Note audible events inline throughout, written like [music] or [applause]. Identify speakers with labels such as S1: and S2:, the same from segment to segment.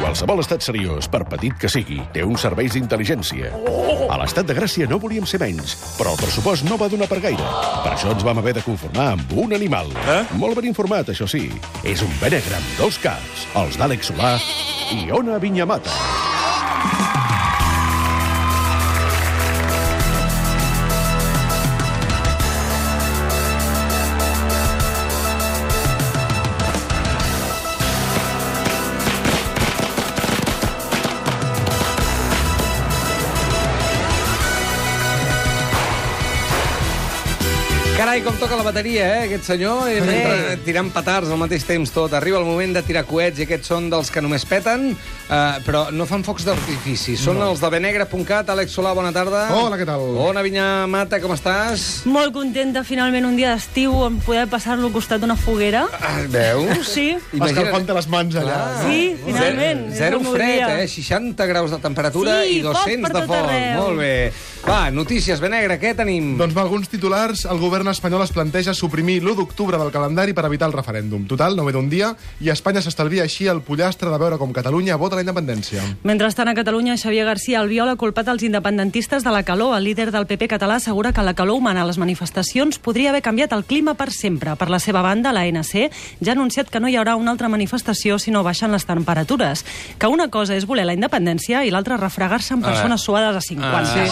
S1: Qualsevol estat seriós, per petit que sigui, té uns serveis d'intel·ligència. A l'estat de Gràcia no volíem ser menys, però el pressupost no va donar per gaire. Per això ens vam haver de conformar amb un animal.
S2: Eh?
S1: Molt ben informat, això sí. És un benegre amb dos caps, els d'Àlex Solà i Ona Vinyamata.
S3: Carai, com toca la bateria, eh, aquest senyor. I mentre tirant petards al mateix temps tot. Arriba el moment de tirar coets i aquests són dels que només peten, eh, però no fan focs d'artifici. Són els de benegre.cat. Àlex Solà, bona tarda.
S4: Hola, què tal?
S3: Bona, Vinyà Mata, com estàs?
S5: Molt contenta, finalment, un dia d'estiu, en poder passar-lo al costat d'una foguera.
S3: Ah, [laughs] veus?
S5: Sí,
S4: Escalfant-te les mans allà.
S5: sí, finalment.
S3: Ah.
S5: és
S3: Zero
S5: el meu
S3: fred,
S5: dia.
S3: eh? 60 graus de temperatura
S5: Sí,
S3: i
S5: foc
S3: 200
S5: per
S3: de
S5: tot
S3: foc.
S5: arreu.
S3: Molt bé. Va, notícies, Benegre, què tenim?
S4: Doncs va, alguns titulars, el govern espanyol es planteja suprimir l'1 d'octubre del calendari per evitar el referèndum. Total, no ve d'un dia, i Espanya s'estalvia així el pollastre de veure com Catalunya vota la independència.
S5: Mentrestant, a Catalunya, Xavier García Albiol ha culpat els independentistes de la calor. El líder del PP català assegura que la calor humana a les manifestacions podria haver canviat el clima per sempre. Per la seva banda, la ANC ja ha anunciat que no hi haurà una altra manifestació si no baixen les temperatures. Que una cosa és voler la independència i l'altra refregar-se amb persones suades a 50.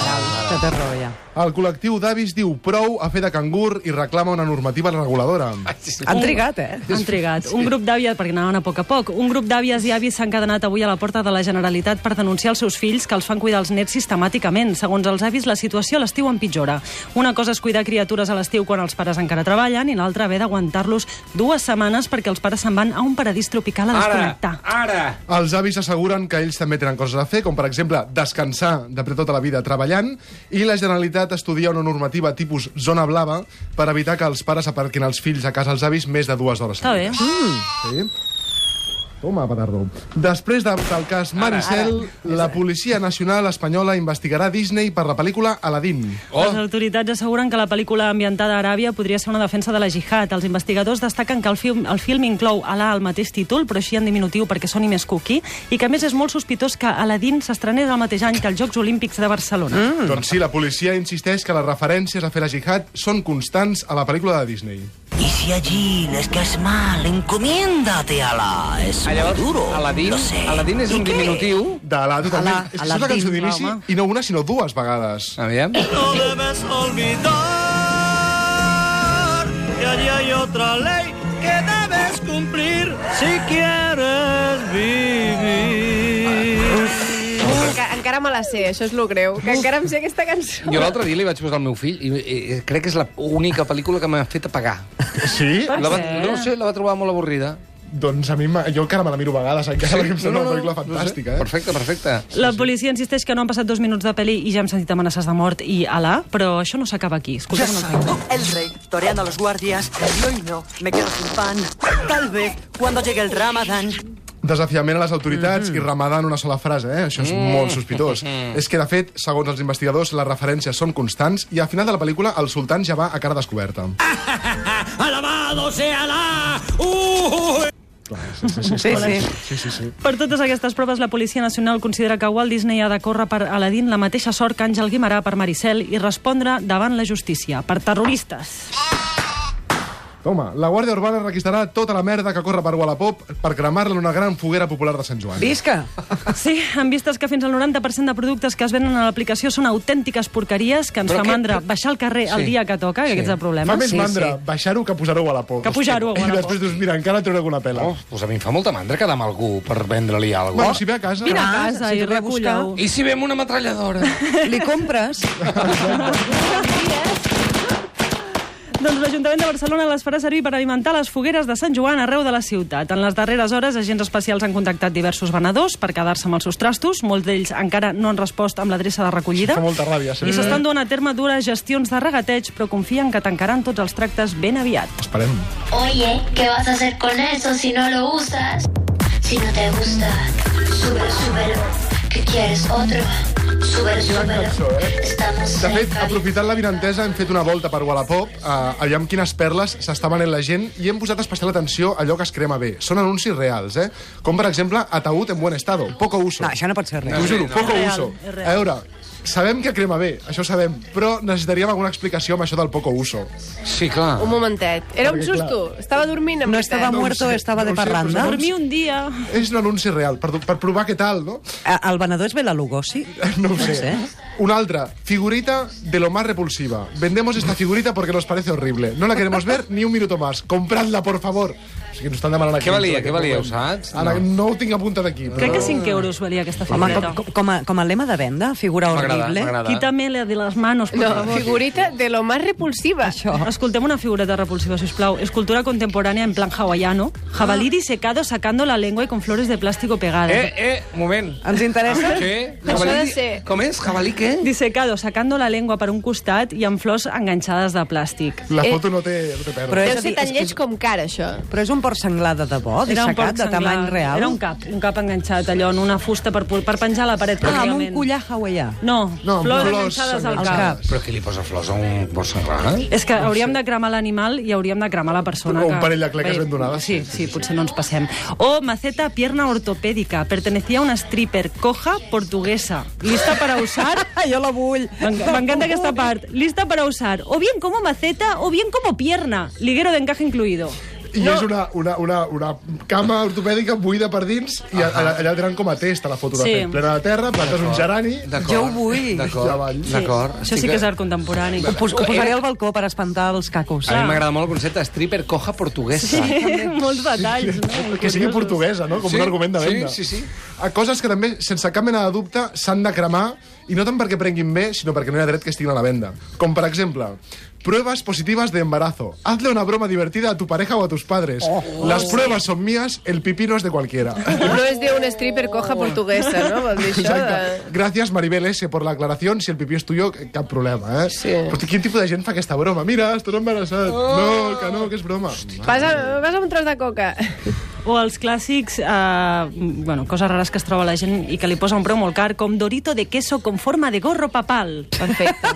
S6: Que té raó, ja.
S4: El col·lectiu d'avis diu prou a fer de cangur i reclama una normativa reguladora.
S6: Han trigat, eh?
S5: Han trigat. Un grup d'àvies, perquè anaven a poc a poc, un grup d'àvies i avis s'han cadenat avui a la porta de la Generalitat per denunciar els seus fills que els fan cuidar els nets sistemàticament. Segons els avis, la situació a l'estiu empitjora. Una cosa és cuidar criatures a l'estiu quan els pares encara treballen i l'altra haver d'aguantar-los dues setmanes perquè els pares se'n van a un paradís tropical a desconnectar.
S3: Ara, ara.
S4: Els avis asseguren que ells també tenen coses a fer, com per exemple descansar de tota la vida treballant, i la Generalitat estudia una normativa tipus zona blava per evitar que els pares aparquin els fills a casa els avis més de dues hores.
S5: Està bé.
S4: Mm, Sí. Toma, petardo. Després de, del cas Maricel, la Policia Nacional Espanyola investigarà Disney per la pel·lícula Aladdin.
S3: Oh.
S5: Les autoritats asseguren que la pel·lícula ambientada a Aràbia podria ser una defensa de la jihad. Els investigadors destaquen que el film, el film inclou Alà al mateix títol, però així en diminutiu perquè soni més cuqui, i que a més és molt sospitós que Aladdin s'estrenés el mateix any que els Jocs Olímpics de Barcelona. Mm.
S4: Mm. Doncs sí, la policia insisteix que les referències a fer la jihad són constants a la pel·lícula de Disney.
S7: Y si allí les caes mal, encomiéndate a la... Es
S3: Ah,
S7: muy
S3: Llavors,
S7: duro,
S3: Aladín,
S7: lo sé.
S3: Aladín és
S7: ¿Y
S3: un
S7: qué?
S3: diminutiu.
S4: De la, totalment.
S6: Alà,
S4: és que és
S6: Aladdin,
S4: la cançó d'inici,
S6: home.
S4: i no una, sinó dues vegades.
S3: Aviam.
S8: No debes olvidar que allí hay otra ley que debes cumplir si quieres vivir.
S9: Enca encara me la sé, això és lo greu, que encara em sé aquesta cançó.
S3: Jo l'altre dia li vaig posar al meu fill i, i i crec que és l'única pel·lícula que m'ha fet apagar.
S4: Sí?
S3: La va, no ho sé, la va trobar molt avorrida.
S4: Doncs a mi, m'ha- jo encara me la miro a vegades, encara, perquè em sembla una pel·lícula
S3: no ho sé.
S4: fantàstica. Eh?
S3: Perfecte, perfecte.
S5: La policia insisteix que no han passat dos minuts de pel·li i ja hem sentit amenaces de mort i Alà, però això no s'acaba aquí. Escoltem un altre.
S7: El rey, toreando a los guardias, y hoy no, me quedo sin pan. Tal vez cuando llegue el ramadán.
S4: Desafiament a les autoritats i ramadà en una sola frase, eh? Això és molt sospitós. És que, de fet, segons els investigadors, les referències són constants i al final de la pel·lícula el sultán ja va a cara descoberta.
S8: Alabado sea la...
S6: Sí, sí.
S5: Per totes aquestes proves, la Policia Nacional considera que Walt Disney ha de córrer per Aladdin la mateixa sort que Àngel Guimarà per Maricel i respondre davant la justícia, per terroristes.
S4: Toma, la Guàrdia Urbana requistarà tota la merda que corre per Wallapop per cremar-la en una gran foguera popular de Sant Joan.
S6: Visca!
S5: Sí, en vistes que fins al 90% de productes que es venen a l'aplicació són autèntiques porqueries que ens
S3: Però
S5: fa
S3: que-
S5: mandra baixar al carrer el
S3: Sí.
S5: dia que toca,
S3: Sí.
S5: que aquest és el
S4: Fa
S5: problema.
S4: més
S6: Sí,
S4: mandra baixar-ho que posar-ho a Wallapop.
S5: Que pujar-ho a
S4: I
S5: Wallapop.
S4: després dius, mira, encara treuré alguna pela.
S3: Oh, doncs a mi em fa molta mandra quedar amb algú per vendre-li alguna
S4: Bueno,
S3: cosa.
S4: si ve a casa...
S6: Vine a
S5: Ah,
S6: casa
S5: si
S6: i
S5: t'ho ve a buscar.
S6: recull-ho.
S3: I si ve amb una metralladora?
S6: Li compres.
S5: Doncs l'Ajuntament de Barcelona les farà servir per alimentar les fogueres de Sant Joan arreu de la ciutat. En les darreres hores, agents especials han contactat diversos venedors per quedar-se amb els seus trastos. Molts d'ells encara no han respost amb l'adreça de recollida.
S4: Fa Mm. molta ràbia, sí.
S5: I s'estan duent a terme dures gestions de regateig, però confien que tancaran tots els tractes ben aviat.
S4: Esperem.
S10: Oye, ¿qué vas a hacer con eso si no lo usas? Si no te gusta, sube, súbelo. ¿Qué quieres otro? Subversión. Estamos
S4: De fet,
S10: cerca.
S4: aprofitant la vinentesa, hem fet una volta per Wallapop, eh, aviam quines perles s'està venent la gent, i hem posat especial atenció a allò que es crema bé. Són anuncis reals, eh? Com, per exemple, ataúd en buen estado, poco uso.
S6: No, això no pot ser
S4: T'ho
S6: res.
S4: juro, poco
S5: És real,
S4: uso.
S5: és real.
S4: A veure, sabem que crema bé, això ho sabem, però necessitaríem alguna explicació amb això del poco uso.
S3: Sí, clar.
S9: Un momentet. Era un susto. Estava dormint, en
S6: No
S9: veritat.
S6: estava
S4: ho
S6: muerto,
S4: sé,
S6: estava
S4: no
S6: de
S4: ho sé, però
S6: parranda.
S4: segons-
S5: Dormir un dia...
S4: És un anunci real, per, per provar què tal, no?
S6: Eh, El venedor és Bela Lugosi?
S4: No ho sé.
S6: sé.
S4: Una altra, figurita de lo más repulsiva. Vendemos esta figurita porque nos parece horrible. No la queremos ver ni un minuto más. Compradla, por favor. O sigui, ens estan demanant aquí.
S3: Què valia,
S4: en
S3: què
S4: aquest
S3: valia,
S4: moment.
S3: ho saps?
S4: Ara
S3: No.
S4: no. no ho tinc apuntat aquí. Però...
S5: Crec que 5 euros valia aquesta
S6: Home,
S5: figureta.
S6: com, com, com, a, com a lema de venda, figura
S3: M'agrada,
S6: horrible.
S3: m'agrada.
S5: Quítame la de las manos, por
S9: No,
S5: favor.
S9: figurita de lo más repulsiva. Això.
S5: Escoltem una figureta repulsiva, sisplau. És cultura contemporània en plan hawaiano.
S6: Ah.
S5: Jabalí disecado sacando la lengua y con flores de plástico pegadas.
S3: Eh, eh, moment.
S6: Ens interessa?
S3: Què?
S9: Això
S3: Jabalí-
S9: ha de ser.
S3: Com és? Jabalí què?
S5: Disecado sacando la lengua per un costat i amb flors enganxades de plàstic.
S4: La foto no té, no té perdre.
S6: Però és,
S9: Deu
S6: a
S9: ser
S6: dir,
S9: tan
S6: és, que
S9: lleig com cara, això.
S6: és- però és un porc senglar de debò, dissecat, de
S5: senglar.
S6: tamany real.
S5: Era un cap, un cap enganxat allò en una fusta per, pu- per penjar a la paret.
S6: Ah, amb un
S5: pràcticament.
S6: collar hawaià.
S5: No,
S4: No, amb
S5: flors
S4: flors
S5: enganxades al
S6: Al
S5: cap.
S6: cap.
S3: Però qui li posa flors a un porc senglar?
S5: És que hauríem de cremar l'animal i hauríem de cremar la persona.
S4: O un
S5: que-
S4: parell de cleques
S5: Bé,
S4: ben donades.
S5: Sí, sí, potser no ens passem. O maceta pierna ortopèdica. Pertenecía a una stripper coja portuguesa. Lista para usar...
S6: Ah, jo la vull.
S5: M'enc- M'encanta aquesta part. Lista para usar. O bien como maceta o bien como pierna. Liguero de encaje incluido.
S4: I no. és una, una, una, una cama ortopèdica buida per dins i a- allà, allà tenen com a testa la foto de
S5: Sí.
S4: fet. Plena de terra, plantes un gerani...
S6: Jo ho vull.
S4: Ja
S3: D'acord,
S4: avall.
S3: d'acord.
S5: Això sí que és art contemporani.
S6: Ho, pos, ho posaré al balcó per espantar els cacos.
S3: A mi m'agrada molt el concepte stripper coja portuguesa. Sí.
S5: [laughs] Molts detalls, no?
S4: Que sigui portuguesa, no? Com
S3: Sí,
S4: un argument de
S3: sí,
S4: venda.
S3: sí, sí.
S4: A coses que també, sense cap mena de dubte, s'han de cremar, i no tant perquè prenguin bé, sinó perquè no hi ha dret que estiguin a la venda. Com, per exemple, pruebas positivas de embarazo. Hazle una broma divertida a tu pareja o a tus padres.
S6: Oh.
S4: Las pruebas son mías, el pipí no es de
S6: [laughs]
S4: cualquiera.
S9: No és d'un stripper coja portuguesa, no? Vol dir
S6: Ah.
S9: això de...
S4: Exacte. Gràcies, Maribel S., per l'aclaració. Si el pipí és tuyo, cap problema, eh?
S9: Sí.
S4: Però quin tipus de gent fa aquesta broma? Mira, estàs embarassat.
S6: Oh.
S4: No, que no, que és broma.
S9: Vas, a, vas amb un tros de coca.
S5: O els clàssics, eh, bueno, coses rares que es troba la gent i que li posa un preu molt car, com Dorito de queso con forma de gorro papal. [laughs]
S9: Perfecte.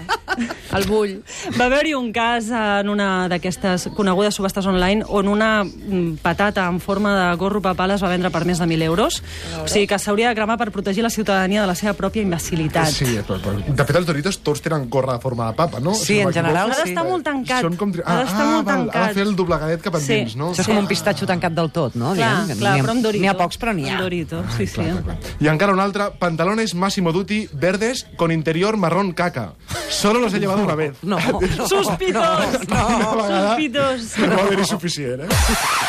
S9: El bull.
S5: Va haver-hi un cas en una d'aquestes conegudes subhastes online on una mm, patata en forma de gorro papal es va vendre per més de 1.000 euros. O sigui que s'hauria de cremar per protegir la ciutadania de la seva pròpia imbecilitat.
S4: Sí, però, però, de fet, els Doritos tots tenen gorra de forma de papa, no?
S6: Sí,
S4: no
S6: en
S4: m'equivoco.
S6: general,
S5: Ha
S6: sí.
S5: d'estar molt tancat.
S4: Són com... tri-
S5: Ha
S4: Ah,
S5: d'estar
S4: ah
S5: molt
S4: val, ha de
S5: tancat.
S4: fer el doblegadet cap
S5: Sí.
S4: endins, no?
S6: Això és com un pistatxo tancat del tot, no?
S5: Clar,
S6: Diguem que
S5: clar,
S6: n'hi ha-
S5: però amb Dorito.
S6: N'hi ha pocs, però n'hi ha.
S5: Amb Dorito, sí,
S4: Ah,
S5: sí.
S4: I encara una altra, pantalones Massimo Dutti verdes con interior marrón caca. Solo los he llevado una vez.
S6: No, no, no.
S5: Sospitos!
S6: No, no.
S4: Una vegada
S5: Sospitos!
S4: No [laughs] va haver-hi suficient, eh?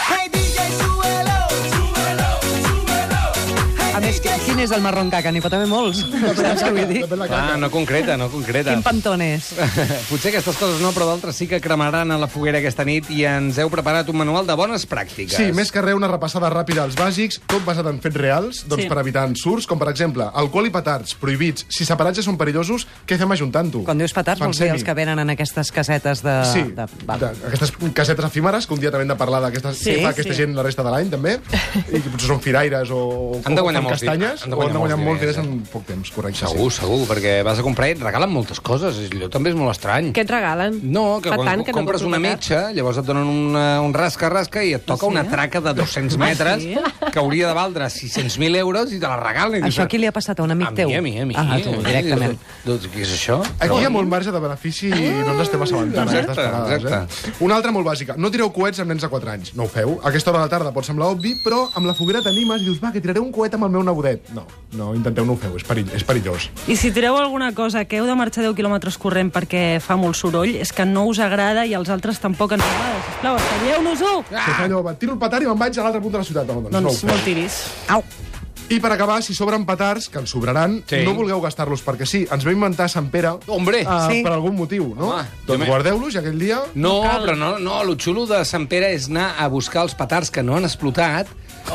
S8: Hey DJ, súbelo, súbelo, súbelo.
S6: A més, qui- quin és el marrón caca? N'hi pot haver
S5: [laughs]
S6: molts. Saps què vull dir?
S4: Depèn la caca.
S3: Clar, Ah, no concreta, no concreta.
S6: Quin pantón és?
S3: [laughs] Potser aquestes coses no, però d'altres sí que cremaran a la foguera aquesta nit i ens heu preparat un manual de bones pràctiques.
S4: Sí, més que res, una repassada ràpida als bàsics, tot basat en fets reals, doncs
S5: Sí.
S4: sí. per evitar ensurts, com per exemple, alcohol i petards, prohibits. Si separats ja són perillosos, què fem ajuntant-ho?
S6: Quan dius petards, vols dir els que venen en aquestes casetes de...
S4: Sí,
S6: de...
S4: de,
S6: val.
S4: aquestes casetes efímeres, que un dia també hem de parlar d'aquestes
S5: Sí,
S4: sí, fa aquesta
S5: sí.
S4: gent la resta de l'any, també, i que potser són firaires o, o
S3: Han de guanyar
S4: fan
S3: molts diners,
S4: castanyes,
S3: han de
S4: o han
S3: guanyar
S4: de guanyar
S3: molts
S4: molts
S3: diners, eh?
S4: diners en poc temps, correcte.
S3: Segur, segur, perquè vas a comprar i et regalen moltes coses. i Allò també és molt estrany.
S9: Què et regalen?
S3: No, que
S9: Fa
S3: quan
S9: tant que no
S3: compres
S9: compro
S3: una
S9: petards.
S3: metxa, llavors et donen una, un rasca-rasca i et
S6: Ah,
S3: toca una traca de 200 metres que hauria de valdre 600.000 euros i te la regalen. I dius,
S6: Això a qui li ha passat? A un amic
S3: a
S6: teu?
S3: mi, a mi, a mi.
S6: Ah, a tu,
S3: a mi.
S6: directament.
S3: Doncs, què és això?
S4: Aquí hi ha molt marge de benefici i no ens estem assabentant.
S3: Ah, Exacte,
S4: aquestes vegades,
S3: exacte.
S4: Eh? Una altra molt bàsica. No tireu coets amb nens de 4 anys. No ho feu. A aquesta hora de la tarda pot semblar obvi, però amb la foguera t'animes i dius, va, que tiraré un coet amb el meu nebodet. No, no, intenteu no ho feu. És, perill, és perillós.
S5: I si tireu alguna cosa que heu de marxar 10 quilòmetres corrent perquè fa molt soroll, és que no us agrada i als altres tampoc ens agrada. Sisplau, estalleu-nos-ho!
S4: Ah! Si fa allò, va, tiro el petard i me'n vaig a l'altre punt de la ciutat. No, doncs, no ho
S5: Doncs
S4: feu.
S5: no tiris.
S6: Au!
S4: I per acabar, si sobren petards, que en sobraran,
S3: Sí.
S4: sí. no vulgueu gastar-los, perquè sí, ens va inventar Sant Pere
S3: Hombre!
S4: eh,
S6: Sí.
S4: per algun motiu, no?
S3: Home, jo me-
S4: doncs guardeu-los i aquell dia...
S3: No, però no, no, el xulo de Sant Pere és anar a buscar els petards que no han explotat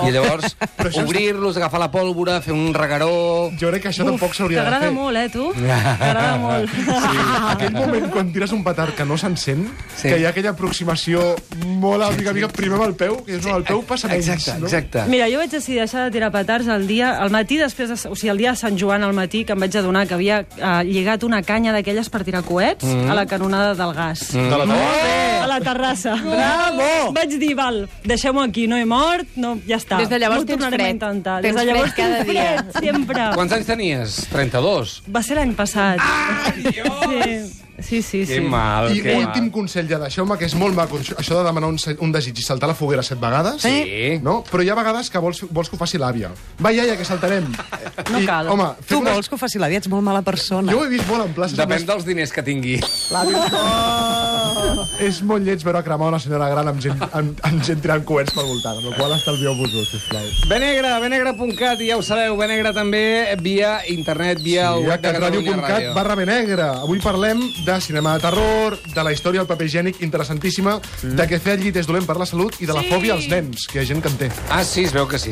S3: I [laughs] llavors, obrir-los, agafar la pòlvora, fer un regaró...
S4: Jo crec que això tampoc s'hauria de
S5: T'agrada
S4: fer.
S5: molt, eh,
S6: [laughs]
S5: tu? T'agrada molt.
S4: Sí, aquell moment quan tires un petard que no s'encén,
S3: Sí.
S4: sí. que hi ha aquella aproximació molt a mica a mica, primer amb el peu, que és no, el peu passa menys,
S3: Exacte,
S4: no?
S3: exacte.
S5: Mira, jo vaig decidir deixar de tirar petards el dia, al matí després, de, o sigui, el dia de Sant Joan al matí, que em vaig adonar que havia eh, lligat una canya d'aquelles per tirar coets a la canonada del gas. Mm.
S4: De la
S5: A la terrassa. Bravo! Vaig dir, val, deixeu-me aquí, no he mort, no, ja està.
S9: Des de llavors
S5: no ho
S9: tens
S5: tornarem a
S9: fred.
S5: intentar.
S9: Tens
S5: Des de llavors
S9: fred cada
S5: tinc
S9: dia.
S5: fred, sempre.
S3: Quants anys tenies? 32?
S5: Va ser l'any passat. Ah, sí, sí, sí.
S3: Que
S5: sí.
S3: mal,
S4: I
S3: que
S4: últim
S3: mal.
S4: consell ja deixeu-me, que és molt maco, això- això de demanar un, se- un desig i saltar la foguera set vegades.
S3: Sí.
S4: No? Però hi ha vegades que vols, vols que ho faci l'àvia. Va, iaia, que saltarem.
S5: No cal.
S4: Home, fem
S6: Tu
S4: unes-
S6: vols que ho faci l'àvia? Ets molt mala persona.
S4: Jo ho he vist molt en places.
S3: Depèn dels diners que tingui.
S4: Més, és molt lleig veure cremar una senyora gran amb gent, amb, amb gent tirant coets pel voltant, amb la qual cosa estalvieu-vos-ho, sisplau.
S3: Benegra, benegra.cat, i ja ho sabeu, Benegra també via internet, via el web de Catalunya
S4: catradio.cat
S3: Ràdio.
S4: barra benegra. Avui parlem de cinema de terror, de la història del paper higiènic
S3: Mm.
S4: interessantíssima, de què fer el llit és dolent per la salut i de la fòbia als nens, que hi ha gent que en té.
S3: Ah, sí, es veu que sí, es